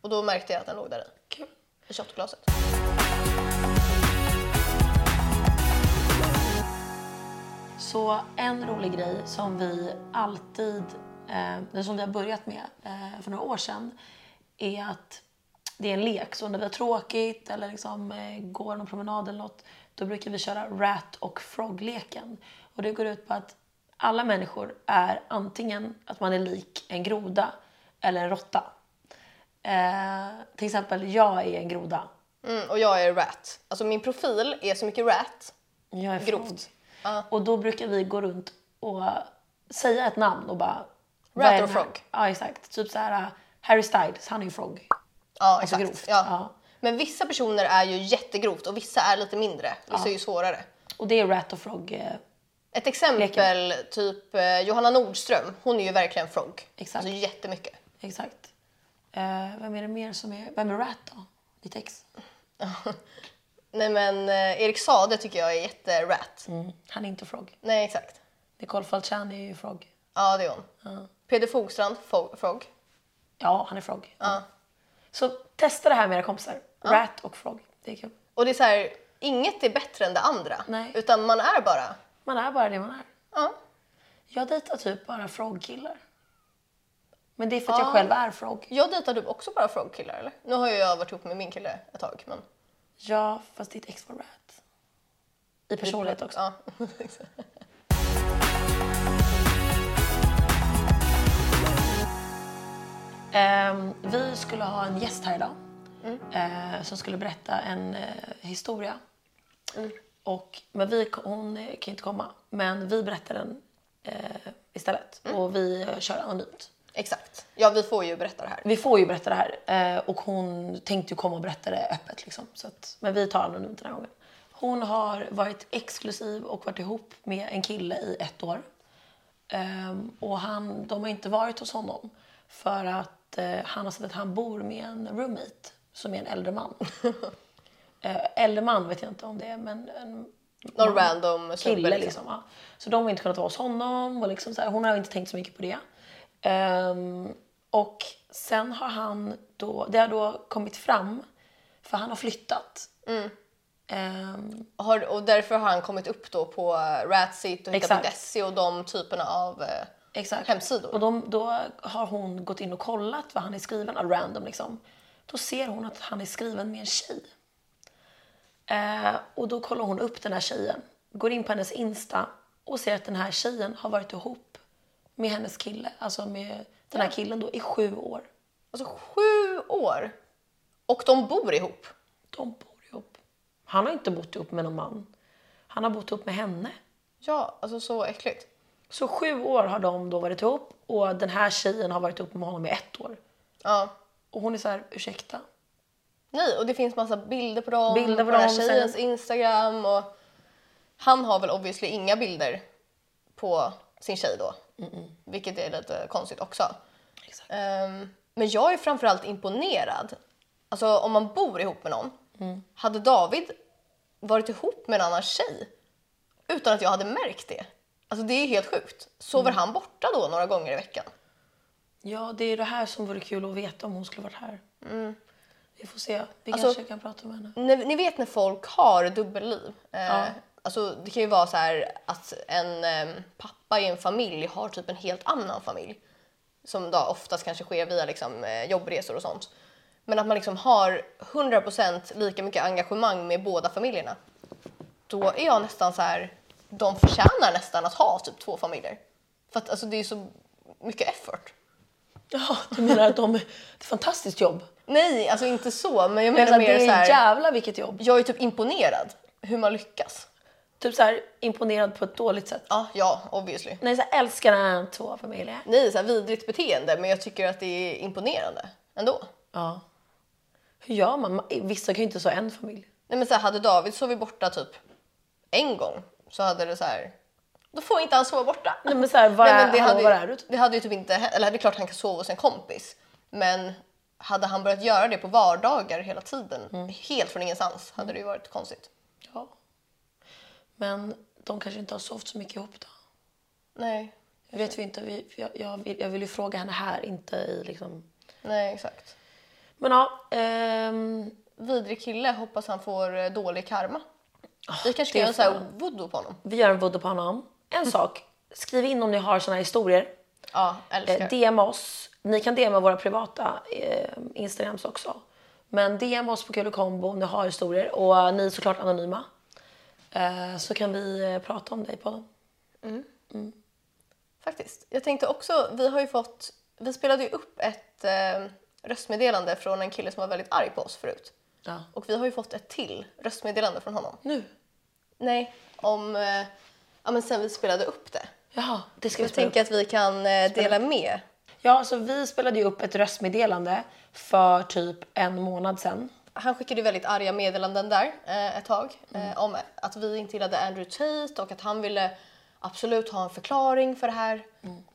[SPEAKER 2] Och då märkte jag att den låg där i,
[SPEAKER 1] Kul.
[SPEAKER 2] i shotglaset.
[SPEAKER 1] Så en rolig grej som vi alltid, eh, eller som vi har börjat med eh, för några år sedan, är att det är en lek. Så när vi har tråkigt eller liksom, eh, går någon promenad eller något, då brukar vi köra rat och frog-leken. Och det går ut på att alla människor är antingen att man är lik en groda eller en råtta. Eh, till exempel, jag är en groda.
[SPEAKER 2] Mm, och jag är rat. Alltså min profil är så mycket rat
[SPEAKER 1] Jag är
[SPEAKER 2] Grovt.
[SPEAKER 1] från.
[SPEAKER 2] Ja.
[SPEAKER 1] Och då brukar vi gå runt och säga ett namn och bara... vad
[SPEAKER 2] Rat
[SPEAKER 1] är
[SPEAKER 2] or
[SPEAKER 1] den här?
[SPEAKER 2] Frog?
[SPEAKER 1] Ja, exakt. Typ så här, Harry Styles, han är ju Frog.
[SPEAKER 2] Ja,
[SPEAKER 1] Alltså
[SPEAKER 2] exakt.
[SPEAKER 1] grovt.
[SPEAKER 2] Ja.
[SPEAKER 1] Ja.
[SPEAKER 2] Men vissa personer är ju jättegrovt och vissa är lite mindre. Vissa är ju svårare.
[SPEAKER 1] Och det är Rat och Frog, eh,
[SPEAKER 2] Ett exempel, typ eh, Johanna Nordström, hon är ju verkligen frog.
[SPEAKER 1] Exakt.
[SPEAKER 2] Alltså jättemycket.
[SPEAKER 1] exakt. Eh, vem är det mer som är... Vem är Rat då? Ditt ex?
[SPEAKER 2] Nej men eh, Erik Sade tycker jag är
[SPEAKER 1] Mm.
[SPEAKER 2] jätterat.
[SPEAKER 1] Han är inte Frog.
[SPEAKER 2] Nej exakt.
[SPEAKER 1] Nicole Falciani är ju Frog.
[SPEAKER 2] Ja det är hon. Peder Fogstrand, fo- frog.
[SPEAKER 1] Ja, han är Frog.
[SPEAKER 2] Ja.
[SPEAKER 1] Så testa det här med era kompisar. Rat och Frog. Det är kul.
[SPEAKER 2] Och det är så här, inget är bättre än det andra.
[SPEAKER 1] Nej.
[SPEAKER 2] Utan man är bara,
[SPEAKER 1] Man är bara det man är.
[SPEAKER 2] ja.
[SPEAKER 1] Jag dejtar typ bara Frog-killar. Men det är för att jag själv är Frog.
[SPEAKER 2] Jag dejtar typ också bara frogkillar eller? Nu har ju jag varit ihop med min kille ett tag men...
[SPEAKER 1] Ja, fast ditt ex var Rat. I personlighet också.
[SPEAKER 2] Ja.
[SPEAKER 1] Ehm, vi skulle ha en gäst här idag eh, som skulle berätta en eh, historia. Mm. Och, men vi, hon eh, kan inte komma, men vi berättar den eh, istället. Och vi eh, kör anonymt.
[SPEAKER 2] exakt. Ja vi får ju berätta det här.
[SPEAKER 1] Vi får ju berätta det här eh, och hon tänkte ju komma och berätta det öppet. Liksom, så att, men vi tar anonymt den här gången. Hon har varit exklusiv och varit ihop med en kille i ett år. Ehm, och han, de har inte varit hos honom för att eh, han har sett att han bor med en roommate som är en äldre man. eh, äldre man vet jag inte om det är, men en
[SPEAKER 2] Någon random
[SPEAKER 1] kille
[SPEAKER 2] snubbe
[SPEAKER 1] liksom. ja. Så de har inte kunnat vara hos honom och liksom så här, hon har inte tänkt så mycket på det. Ehm, och sen har han då, det har då kommit fram, för han har flyttat. Ehm,
[SPEAKER 2] Har, och därför har han kommit upp då på eh, Ratsit och
[SPEAKER 1] Exakt.
[SPEAKER 2] hitta.se och de typerna av eh,
[SPEAKER 1] Exakt.
[SPEAKER 2] hemsidor.
[SPEAKER 1] Och de, då har hon gått in och kollat vad han är skriven av, random liksom. Då ser hon att han är skriven med en tjej. Eh, och då kollar hon upp den här tjejen, går in på hennes Insta och ser att den här tjejen har varit ihop med hennes kille, alltså med den här killen då, i sju år.
[SPEAKER 2] Alltså sju år! Och de bor ihop.
[SPEAKER 1] De bor ihop. Han har inte bott ihop med någon man. Han har bott ihop med henne.
[SPEAKER 2] Ja, alltså så äckligt.
[SPEAKER 1] Så sju år har de då varit ihop och den här tjejen har varit ihop med honom i ett år.
[SPEAKER 2] Ja.
[SPEAKER 1] Och hon är så här, ursäkta,
[SPEAKER 2] Nej, och det finns massa bilder på dem,
[SPEAKER 1] Bilder på
[SPEAKER 2] den här
[SPEAKER 1] dem, sen-
[SPEAKER 2] tjejens Instagram och... Han har väl obviously inga bilder på sin tjej då, vilket är lite konstigt också.
[SPEAKER 1] Exakt.
[SPEAKER 2] Ehm, men jag är framförallt imponerad. Alltså om man bor ihop med någon,
[SPEAKER 1] Mm.
[SPEAKER 2] hade David varit ihop med en annan tjej utan att jag hade märkt det? Alltså det är helt sjukt. Sover
[SPEAKER 1] Mm.
[SPEAKER 2] han borta då några gånger i veckan?
[SPEAKER 1] Ja, det är det här som vore kul att veta om hon skulle varit här. Vi får se. Vi
[SPEAKER 2] Mm. Alltså-
[SPEAKER 1] kanske kan prata med henne.
[SPEAKER 2] Ni, ni vet när folk har dubbelliv. Eh,
[SPEAKER 1] Ja.
[SPEAKER 2] alltså, det kan ju vara så här att en eh, pappa i en familj har typ en helt annan familj. Som då oftast kanske sker via liksom, eh, jobbresor och sånt. Men att man liksom har 100% lika mycket engagemang med båda familjerna. Då är jag nästan så här, de förtjänar nästan att ha typ två familjer. För att alltså, det är så mycket effort.
[SPEAKER 1] Ja, du menar att de, det är ett fantastiskt jobb?
[SPEAKER 2] Nej, alltså inte så, men jag
[SPEAKER 1] Men
[SPEAKER 2] menar
[SPEAKER 1] att Alltså, det
[SPEAKER 2] mer så
[SPEAKER 1] är
[SPEAKER 2] här,
[SPEAKER 1] jävla vilket jobb.
[SPEAKER 2] jag är typ imponerad hur man lyckas.
[SPEAKER 1] Typ så här imponerad på ett dåligt sätt.
[SPEAKER 2] Ja, ja, obviously.
[SPEAKER 1] Nej, så här, älskar han två familjer.
[SPEAKER 2] Nej, så här vidrigt beteende, men jag tycker att det är imponerande ändå.
[SPEAKER 1] Ja. Hur gör man? Man- Vissa kan ju inte så en familj.
[SPEAKER 2] Nej, men så här, hade David sovit borta typ en gång så hade det så här. Då får inte han sova borta.
[SPEAKER 1] Nej, men så här, var,
[SPEAKER 2] Nej,
[SPEAKER 1] är,
[SPEAKER 2] men det,
[SPEAKER 1] hallå, var
[SPEAKER 2] hade,
[SPEAKER 1] är du?
[SPEAKER 2] ju- det hade ju typ inte hä- eller det är klart han kan sova hos en kompis, men hade han börjat göra det på vardagar hela tiden,
[SPEAKER 1] Mm.
[SPEAKER 2] helt från ingenstans, hade det ju varit konstigt.
[SPEAKER 1] Ja. Men de kanske inte har sovt så mycket ihop då.
[SPEAKER 2] Nej,
[SPEAKER 1] Jag vet vi inte. Vi, jag, jag, vill, jag vill ju fråga henne här, inte i liksom...
[SPEAKER 2] nej exakt.
[SPEAKER 1] Men ja. Ehm,
[SPEAKER 2] Vidrig kille, hoppas han får eh, dålig karma. Vi kanske
[SPEAKER 1] Ah, det
[SPEAKER 2] kan göra så
[SPEAKER 1] får
[SPEAKER 2] här voodoo på honom.
[SPEAKER 1] Vi gör en voodoo på honom.
[SPEAKER 2] Mm.
[SPEAKER 1] En sak. Skriv in om ni har såna här historier.
[SPEAKER 2] Ja, älskar.
[SPEAKER 1] Eh, DM oss. Ni kan DMa våra privata eh, Instagrams också. Men DM oss på Kul och Kombo om ni har historier. Och eh, ni är såklart anonyma. Eh, så kan vi eh, prata om dig på podden.
[SPEAKER 2] Faktiskt. Jag tänkte också, vi har ju fått, vi spelade ju upp ett eh, röstmeddelande från en kille som var väldigt arg på oss förut.
[SPEAKER 1] Ja.
[SPEAKER 2] Och vi har ju fått ett till röstmeddelande från honom.
[SPEAKER 1] Nu.
[SPEAKER 2] Nej, om... eh, Ja, men sen vi spelade upp det.
[SPEAKER 1] Jaha, det ska vi
[SPEAKER 2] Jag
[SPEAKER 1] spela upp.
[SPEAKER 2] tänker att vi kan eh, dela med.
[SPEAKER 1] Ja, så vi spelade ju upp ett röstmeddelande för typ en månad sedan.
[SPEAKER 2] Han skickade ju väldigt arga meddelanden där eh, ett tag
[SPEAKER 1] Mm.
[SPEAKER 2] eh, om att vi inte gillade Andrew Tate och att han ville absolut ha en förklaring för det här.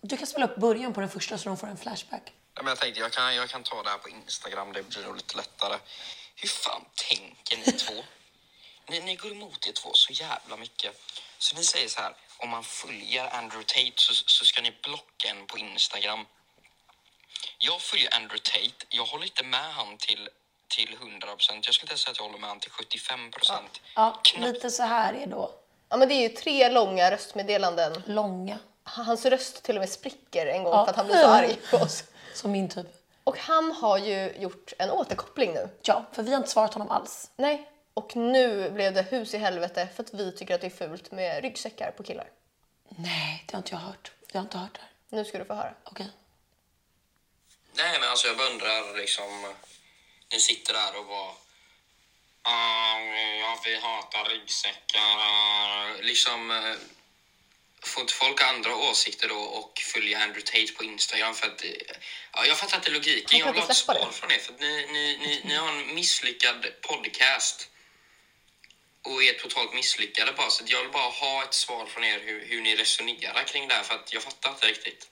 [SPEAKER 1] Du kan spela upp början på den första så de får en flashback.
[SPEAKER 4] Ja, men jag tänkte jag kan, jag kan ta det här på Instagram, det blir nog lite lättare. Hur fan tänker ni två? Ni, ni går emot er två så jävla mycket. Så ni säger så här, om man följer Andrew Tate så, så ska ni blocka en på Instagram. Jag följer Andrew Tate, jag håller inte med han till, till 100 procent. Jag skulle inte säga att jag håller med han till 75 procent.
[SPEAKER 1] Ja, lite så här är då
[SPEAKER 2] Ja, men det är ju tre långa röstmeddelanden.
[SPEAKER 1] långa,
[SPEAKER 2] Hans röst till och med spricker en gång
[SPEAKER 1] Ja.
[SPEAKER 2] för att han blir så arg på oss.
[SPEAKER 1] som min typ.
[SPEAKER 2] Och han har ju gjort en återkoppling nu.
[SPEAKER 1] Ja, för vi har inte svarat honom alls.
[SPEAKER 2] Nej. Och nu blev det hus i helvete för att vi tycker att det är fult med ryggsäckar på killar.
[SPEAKER 1] Nej, det har inte jag hört. Jag har inte hört det här.
[SPEAKER 2] Nu ska du få höra.
[SPEAKER 1] Okej.
[SPEAKER 4] Nej, men alltså jag bara undrar liksom. Ni sitter där och bara. "Ah, ja, vi hatar ryggsäckar. ah." Liksom. eh, Får inte folk ha andra åsikter då och följa Andrew Tate på Instagram för att... eh, Ja, jag fattar inte logiken. Jag
[SPEAKER 2] Han kan
[SPEAKER 4] vill ha
[SPEAKER 2] inte
[SPEAKER 4] ett
[SPEAKER 2] släppa
[SPEAKER 4] svar
[SPEAKER 2] det.
[SPEAKER 4] från er för att ni, ni, ni, ni har en misslyckad podcast. Och är totalt misslyckade bara. Så att jag vill bara ha ett svar från er hur, hur ni resonerar kring det här för att jag fattar inte riktigt.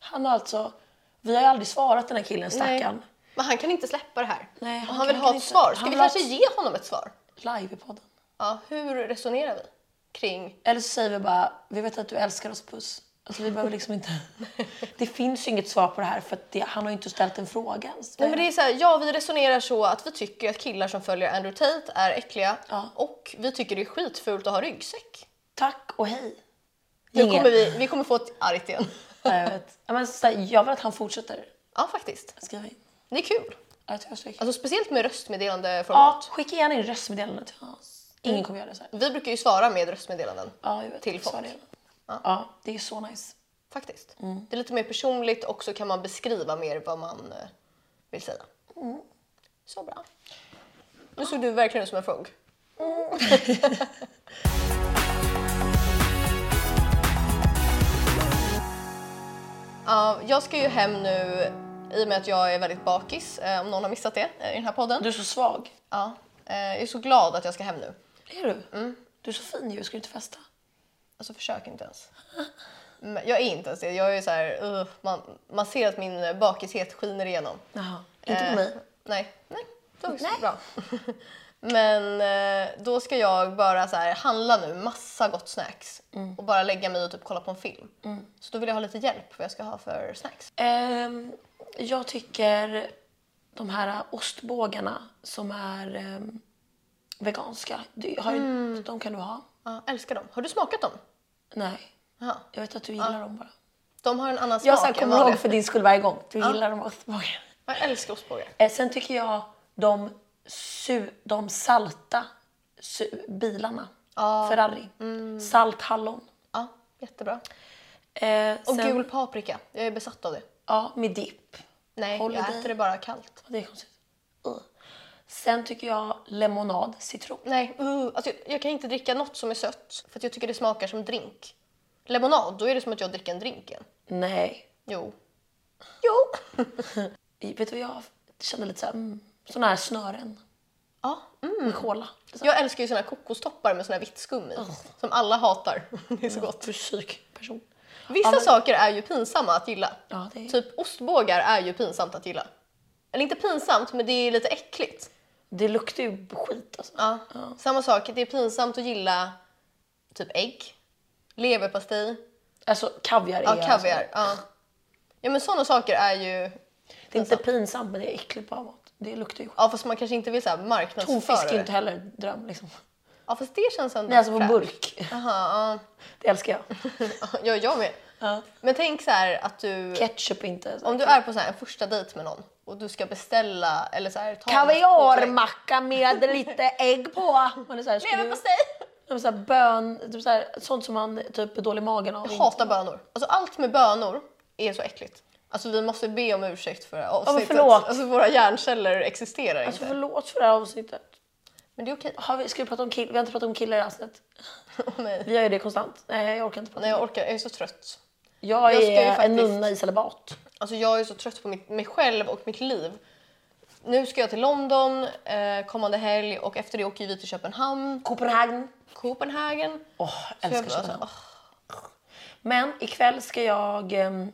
[SPEAKER 1] Han har alltså... Vi har ju aldrig svarat den här killen, stackaren.
[SPEAKER 2] Men han kan inte släppa det här.
[SPEAKER 1] Nej,
[SPEAKER 2] han,
[SPEAKER 1] han
[SPEAKER 2] vill
[SPEAKER 1] kan-
[SPEAKER 2] ha
[SPEAKER 1] kan
[SPEAKER 2] ett
[SPEAKER 1] inte.
[SPEAKER 2] svar. Ska
[SPEAKER 1] Han
[SPEAKER 2] vi
[SPEAKER 1] vill ha
[SPEAKER 2] kanske
[SPEAKER 1] ett-
[SPEAKER 2] ge honom ett svar?
[SPEAKER 1] Live i podden.
[SPEAKER 2] Ja, hur resonerar vi kring...
[SPEAKER 1] Eller så säger vi bara, vi vet att du älskar oss, puss. Alltså vi behöver liksom inte... Det finns ju inget svar på det här för att det, han har ju inte ställt en fråga ens.
[SPEAKER 2] Nej, men det är så här, ja, vi resonerar så att vi tycker att killar som följer Andrew Tate är äckliga
[SPEAKER 1] Ja.
[SPEAKER 2] och vi tycker det är skitfult att ha ryggsäck.
[SPEAKER 1] Tack och hej.
[SPEAKER 2] Nu
[SPEAKER 1] Inget.
[SPEAKER 2] kommer vi, vi kommer få ett argt igen.
[SPEAKER 1] Ja, jag vet. Ja, men så här, jag vill att han fortsätter
[SPEAKER 2] Ja, faktiskt.
[SPEAKER 1] skriva in.
[SPEAKER 2] Det är kul.
[SPEAKER 1] Ja, Jag tror jag stryker.
[SPEAKER 2] Alltså speciellt med röstmeddelande
[SPEAKER 1] Ja,
[SPEAKER 2] format.
[SPEAKER 1] skicka gärna in röstmeddelanden till oss. Ingen kommer göra det så här.
[SPEAKER 2] Vi brukar ju svara med röstmeddelanden.
[SPEAKER 1] Ja, jag vet.
[SPEAKER 2] Till folk.
[SPEAKER 1] Så är det. Ja, det är så nice.
[SPEAKER 2] Faktiskt. Det är lite mer personligt och så kan man beskriva mer vad man eh, vill säga. Så bra. Nu såg du verkligen ut som en frog. Ja, jag ska ju hem nu i och med att jag är väldigt bakis, eh, om någon har missat det eh, i den här podden.
[SPEAKER 1] Du är så svag.
[SPEAKER 2] Ja, eh, jag är så glad att jag ska hem nu.
[SPEAKER 1] Är du? Du är så fin ju. Ska du inte festa?
[SPEAKER 2] Alltså försök inte ens. Men jag är inte ens det. Jag är så här, "Ugh", man, man ser att min bakishet skiner igenom. Eh,
[SPEAKER 1] Jaha. Eh, Inte på mig.
[SPEAKER 2] Nej, nej. Det var också bra. Men eh, då ska jag bara så här, handla nu massa gott snacks
[SPEAKER 1] Mm.
[SPEAKER 2] och bara lägga mig och typ kolla på en film. Så då vill jag ha lite hjälp vad jag ska ha för snacks.
[SPEAKER 1] Ehm, jag tycker de här ostbågarna som är ehm, veganska, du, har ju, de kan du ha.
[SPEAKER 2] Ja, älskar dem. Har du smakat dem?
[SPEAKER 1] Nej,
[SPEAKER 2] Jaha.
[SPEAKER 1] jag vet att du gillar dem bara.
[SPEAKER 2] De har en annan
[SPEAKER 1] Jag så här,
[SPEAKER 2] smak än
[SPEAKER 1] kommer ihåg
[SPEAKER 2] vanliga.
[SPEAKER 1] för din skull varje gång. Du gillar de ostbågarna.
[SPEAKER 2] Jag älskar ostbågar.
[SPEAKER 1] Eh, sen tycker jag de, su- de salta su- bilarna. Ferrari. Salt hallon.
[SPEAKER 2] Ja, jättebra.
[SPEAKER 1] Eh,
[SPEAKER 2] Och
[SPEAKER 1] sen-
[SPEAKER 2] gul paprika. Jag är besatt av det.
[SPEAKER 1] Ja, med dipp.
[SPEAKER 2] Nej,
[SPEAKER 1] Håller
[SPEAKER 2] jag
[SPEAKER 1] dig.
[SPEAKER 2] äter det bara kallt.
[SPEAKER 1] Det är konstigt. Ugh. Sen tycker jag lemonad, citron.
[SPEAKER 2] Nej, uh, alltså, jag- jag kan inte dricka något som är sött för att jag tycker det smakar som drink. Lemonad, då är det som att jag dricker en drink igen.
[SPEAKER 1] Nej,
[SPEAKER 2] Jo. Jo!
[SPEAKER 1] Vet du vad jag kände lite såhär, mm, såna här snören
[SPEAKER 2] ja. mm.
[SPEAKER 1] med cola.
[SPEAKER 2] Jag älskar ju såna här kokostoppar med såna här vitt skum i. Som alla hatar. Det är så gott.
[SPEAKER 1] Du är psyk person.
[SPEAKER 2] Vissa
[SPEAKER 1] Ja, men-
[SPEAKER 2] saker är ju pinsamma att gilla.
[SPEAKER 1] Ja, det är-
[SPEAKER 2] Typ ostbågar är ju pinsamt att gilla. Eller inte pinsamt, men det är lite äckligt.
[SPEAKER 1] Det luktar ju skit alltså.
[SPEAKER 2] Ja. Samma sak, det är pinsamt att gilla typ ägg, leverpastej,
[SPEAKER 1] Alltså kaviar är
[SPEAKER 2] ja,
[SPEAKER 1] Alltså,
[SPEAKER 2] kaviar. Ja. ja, men såna saker är ju
[SPEAKER 1] det är inte pinsamt men det är äckligt på mat. Det luktar ju skit.
[SPEAKER 2] Alltså. Ja fast man kanske inte vill så här marknadsföra
[SPEAKER 1] Tonfisk är
[SPEAKER 2] det.
[SPEAKER 1] ju inte heller dröm liksom.
[SPEAKER 2] Ja fast det känns ändå
[SPEAKER 1] Nej alltså på
[SPEAKER 2] fräscht.
[SPEAKER 1] burk.
[SPEAKER 2] Jaha,
[SPEAKER 1] Det älskar jag.
[SPEAKER 2] ja. ja jag med.
[SPEAKER 1] Ja.
[SPEAKER 2] Men tänk så här att du,
[SPEAKER 1] Ketchup är inte.
[SPEAKER 2] om du är på så här en första dejt med någon och du ska beställa eller så här ta
[SPEAKER 1] Kaviarmacka med lite ägg på. Man är så här, skulle, ju-
[SPEAKER 2] Leverpastej!
[SPEAKER 1] Ja, men så här, bön, typ så här, sånt som man typ är dålig i magen av.
[SPEAKER 2] Jag hatar bönor. Alltså allt med bönor är så äckligt. Alltså vi måste be om ursäkt för det här avsnittet.
[SPEAKER 1] förlåt.
[SPEAKER 2] Alltså våra hjärnceller existerar
[SPEAKER 1] Alltså
[SPEAKER 2] inte.
[SPEAKER 1] förlåt för det här avsnittet.
[SPEAKER 2] Men det är okej.
[SPEAKER 1] Har vi, ska vi prata om killar? Vi har inte pratat om killar i det här avsnittet.
[SPEAKER 2] Åh, nej.
[SPEAKER 1] Vi gör ju det konstant. Nej, jag orkar inte prata.
[SPEAKER 2] nej, jag orkar. Jag är så trött.
[SPEAKER 1] jag,
[SPEAKER 2] jag ska ju
[SPEAKER 1] är en
[SPEAKER 2] faktiskt-
[SPEAKER 1] nunna i celibat.
[SPEAKER 2] Alltså jag är så trött på mitt, mig själv och mitt liv. Nu ska jag till London eh, kommande helg och efter det åker vi till Köpenhamn,
[SPEAKER 1] Copenhagen.
[SPEAKER 2] Copenhagen.
[SPEAKER 1] Åh,
[SPEAKER 2] Så
[SPEAKER 1] älskar
[SPEAKER 2] jag- alltså,
[SPEAKER 1] Köpenhamn.
[SPEAKER 2] åh.
[SPEAKER 1] Men ikväll ska jag... ehm,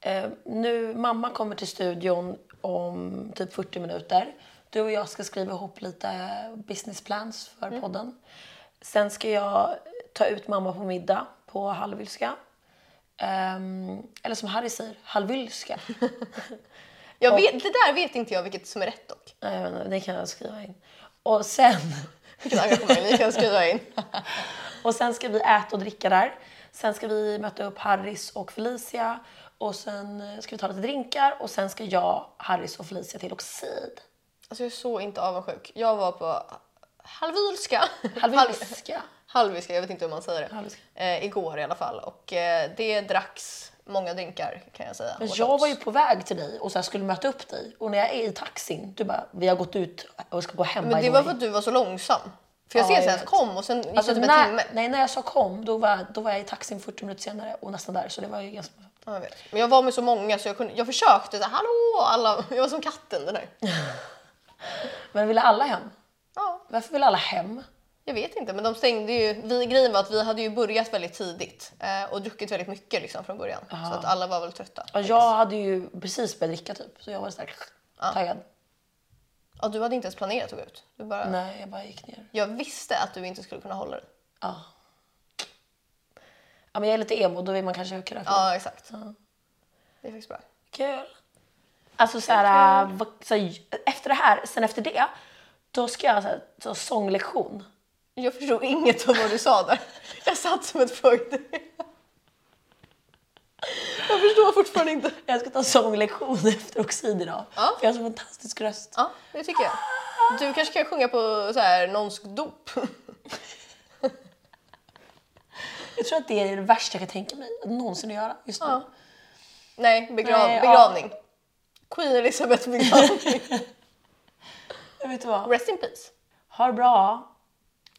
[SPEAKER 1] eh, nu, mamma kommer till studion om typ 40 minuter. Du och jag ska skriva ihop lite business plans för podden. Sen ska jag ta ut mamma på middag på Hallwylska. Ehm, eller som Harry säger, Hallwylska.
[SPEAKER 2] Jag vet, det där vet inte jag vilket som är rätt dock.
[SPEAKER 1] Nej, jag vet inte, det Eh, kan jag skriva in. Och sen...
[SPEAKER 2] Vilket engagemang ni kan skriva in.
[SPEAKER 1] Och sen ska vi äta och dricka där. Sen ska vi möta upp Harris och Felicia. Och sen eh, ska vi ta lite drinkar och sen ska jag, Harris och Felicia till Oxid.
[SPEAKER 2] Alltså jag är så inte avundsjuk. Jag var på Halvilska.
[SPEAKER 1] Halvilska.
[SPEAKER 2] Halviska, jag vet inte hur man säger det.
[SPEAKER 1] Halviska.
[SPEAKER 2] Eh, igår i alla fall. Och eh, det dracks många drinkar kan jag säga.
[SPEAKER 1] Men
[SPEAKER 2] Och
[SPEAKER 1] jag
[SPEAKER 2] shots.
[SPEAKER 1] var ju på väg till dig och så här skulle möta upp dig. Och när jag är i taxin, du bara, vi har gått ut och ska gå hem
[SPEAKER 2] Men
[SPEAKER 1] by the
[SPEAKER 2] det var
[SPEAKER 1] way."
[SPEAKER 2] för att du var så långsam. För jag
[SPEAKER 1] Ja,
[SPEAKER 2] ser
[SPEAKER 1] jag
[SPEAKER 2] sen att
[SPEAKER 1] vet.
[SPEAKER 2] kom och sen gick
[SPEAKER 1] Alltså,
[SPEAKER 2] det typ en timme.
[SPEAKER 1] när, nej, när jag sa kom, då var, då var jag i taxin 40 minuter senare och nästan där. Så det var ju ganska...
[SPEAKER 2] Ja, jag vet. Men jag var med så många så jag, kunde, jag försökte så här, hallå alla. Jag var som katten den där.
[SPEAKER 1] Men ville alla hem?
[SPEAKER 2] Ja,
[SPEAKER 1] Varför ville alla hem?
[SPEAKER 2] jag vet inte men de stängde ju. Vi, grejen var att vi hade ju börjat väldigt tidigt eh, och druckit väldigt mycket liksom från början. Så att alla var väl trötta.
[SPEAKER 1] Ja, jag hade ju precis börjat dricka typ, så jag var så här, taggad.
[SPEAKER 2] Ja, du hade inte ens planerat att gå ut. Du bara,
[SPEAKER 1] Nej, jag bara gick ner.
[SPEAKER 2] jag visste att du inte skulle kunna hålla dig.
[SPEAKER 1] Ja. ja men jag är lite emo, då vill man kanske kunna få
[SPEAKER 2] Ja, exakt. Det är faktiskt bra.
[SPEAKER 1] kul. Alltså så här, äh, vad- så här, efter det här, sen efter det, då ska jag så här, så sånglektion.
[SPEAKER 2] Jag förstod inget av vad du sa där. Jag satt som ett frågetecken. Jag förstår fortfarande inte.
[SPEAKER 1] Jag ska ta sånglektion efter Oxid idag.
[SPEAKER 2] Ja.
[SPEAKER 1] För jag har så fantastisk röst.
[SPEAKER 2] Ja, det tycker jag. Du kanske kan sjunga på så här någons dop.
[SPEAKER 1] Jag tror att det är det värsta jag kan tänka mig att någonsin göra just nu.
[SPEAKER 2] Ja. Nej, begrav,
[SPEAKER 1] Nej, ja.
[SPEAKER 2] begravning. Queen Elizabeth begravning.
[SPEAKER 1] Jag vet du vad?
[SPEAKER 2] Rest in peace.
[SPEAKER 1] Ha det bra.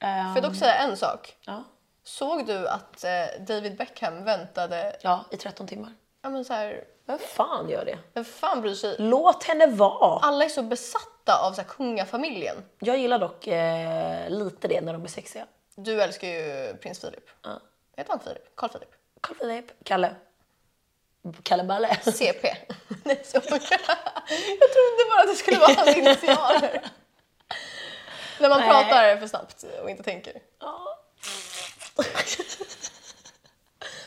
[SPEAKER 1] Ehm,
[SPEAKER 2] Får jag dock säga en sak?
[SPEAKER 1] ja.
[SPEAKER 2] Såg du att eh, David Beckham väntade...
[SPEAKER 1] ja, i 13 timmar.
[SPEAKER 2] Ja, men så här,
[SPEAKER 1] Vem fan gör det?
[SPEAKER 2] vem fan bryr sig?
[SPEAKER 1] Låt henne vara.
[SPEAKER 2] Alla är så besatta av så här, kungafamiljen.
[SPEAKER 1] Jag gillar dock eh, lite det när de är sexiga.
[SPEAKER 2] Du älskar ju prins Philip.
[SPEAKER 1] Ja.
[SPEAKER 2] Heter han Philip? Carl Philip?
[SPEAKER 1] Carl Philip, typ. Kalle. Kalle Balle.
[SPEAKER 2] CP. Nej, så. jag trodde bara att det skulle vara hans initialer. När man
[SPEAKER 1] Nej.
[SPEAKER 2] pratar för snabbt och inte tänker.
[SPEAKER 1] Ja.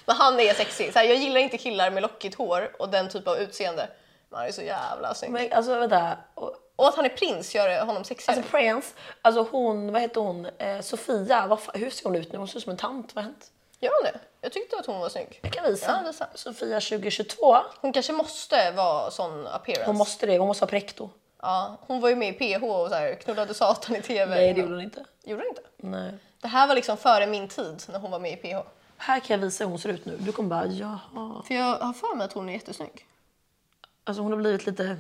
[SPEAKER 2] Men han är sexig. Så här, jag gillar inte killar med lockigt hår och den typ av utseende. Men han är så jävla snygg.
[SPEAKER 1] Men alltså vänta. Och-
[SPEAKER 2] Och att han är prins gör det- honom sexigare.
[SPEAKER 1] Alltså Prince, alltså hon, vad heter hon, eh, Sofia, vad fa- hur ser hon ut nu? Hon ser ut som en tant, vad har hänt?
[SPEAKER 2] Gör han det? Jag tyckte att hon var snygg.
[SPEAKER 1] Jag kan visa.
[SPEAKER 2] Ja, visa.
[SPEAKER 1] Sofia 2022.
[SPEAKER 2] Hon kanske måste vara sån appearance.
[SPEAKER 1] Hon måste det, hon måste ha prekto.
[SPEAKER 2] ja, hon var ju med i PH och så här, knullade satan i TV.
[SPEAKER 1] Nej det gjorde hon inte.
[SPEAKER 2] Gjorde hon inte?
[SPEAKER 1] Eh, Nej.
[SPEAKER 2] Det här var liksom före min tid när hon var med i PH.
[SPEAKER 1] Här kan jag visa hur hon ser ut nu. Du kommer bara jaha.
[SPEAKER 2] För jag har för mig att hon är jättesnygg.
[SPEAKER 1] Alltså hon har blivit lite...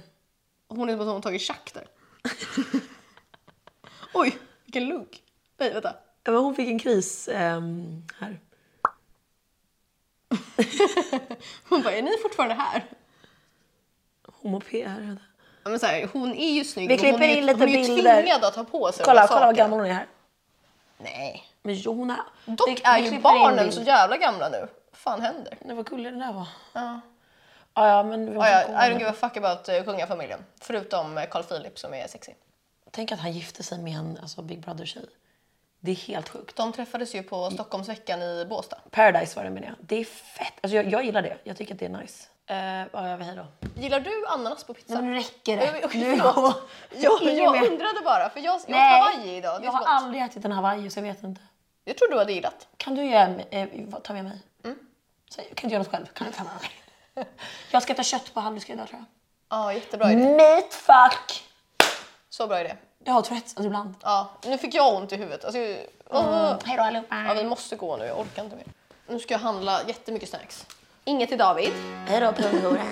[SPEAKER 2] Hon är som att hon har tagit tjack där. Oj, vilken lugg. Nej, vänta.
[SPEAKER 1] Ja, men Hon fick en kris ehm, här.
[SPEAKER 2] Hon bara, är ni fortfarande här?
[SPEAKER 1] Homo-PR.
[SPEAKER 2] Ja, men så här, hon är ju snygg.
[SPEAKER 1] Vi
[SPEAKER 2] men hon
[SPEAKER 1] klipper
[SPEAKER 2] är ju-
[SPEAKER 1] in lite
[SPEAKER 2] hon är ju
[SPEAKER 1] bilder.
[SPEAKER 2] tvingad att ha på sig de
[SPEAKER 1] Kolla,
[SPEAKER 2] här
[SPEAKER 1] kolla vad
[SPEAKER 2] sakerna.
[SPEAKER 1] gammal hon är här.
[SPEAKER 2] Nej.
[SPEAKER 1] Men jo, hon är...
[SPEAKER 2] Dock
[SPEAKER 1] Vi- vi
[SPEAKER 2] är
[SPEAKER 1] klipper
[SPEAKER 2] ju
[SPEAKER 1] in
[SPEAKER 2] barnen
[SPEAKER 1] bild.
[SPEAKER 2] så jävla gamla nu. Vad fan händer?
[SPEAKER 1] Nej, vad gullig den där var.
[SPEAKER 2] Ja.
[SPEAKER 1] Ja, Ah, ja, men vi måste
[SPEAKER 2] Ja, ja,
[SPEAKER 1] kolla.
[SPEAKER 2] I don't give a fuck about eh, kungafamiljen. Förutom eh, Carl Philip som är sexig.
[SPEAKER 1] Tänk att han gifte sig med en alltså, Big Brother-tjej. Det är helt sjukt.
[SPEAKER 2] De träffades ju på Stockholmsveckan i Båstad.
[SPEAKER 1] Paradise var det menar jag. Det är fett. Alltså, jag, jag gillar det. Jag tycker att det är nice. Uh, ja, jag vill hej då.
[SPEAKER 2] Gillar du ananas på pizza?
[SPEAKER 1] Nu räcker
[SPEAKER 2] Okej,
[SPEAKER 1] det. Nu
[SPEAKER 2] förlåt. jag,
[SPEAKER 1] Ingen
[SPEAKER 2] jag
[SPEAKER 1] mer.
[SPEAKER 2] undrade bara, för jag, jag åt
[SPEAKER 1] Nej,
[SPEAKER 2] Hawaii idag. Det är
[SPEAKER 1] Jag har
[SPEAKER 2] så gott.
[SPEAKER 1] aldrig ätit en hawaii så jag vet inte.
[SPEAKER 2] jag tror du hade gillat.
[SPEAKER 1] Kan du göra, eh, vad- ta med mig? Så, jag kan inte göra något själv. Kan du ta med mig? jag ska äta kött på Halluska idag tror jag.
[SPEAKER 2] Ja, jättebra
[SPEAKER 1] Mm.
[SPEAKER 2] idé.
[SPEAKER 1] Meat fuck!
[SPEAKER 2] Så bra idé.
[SPEAKER 1] Jag har Tourettes alltså, ibland.
[SPEAKER 2] Ja, nu fick jag ont i huvudet. Alltså, jag- Åh.
[SPEAKER 1] Hej då allihopa.
[SPEAKER 2] ja, vi måste gå nu, jag orkar inte mer. Nu ska jag handla jättemycket snacks. Inget till David.
[SPEAKER 1] Hej då punghora.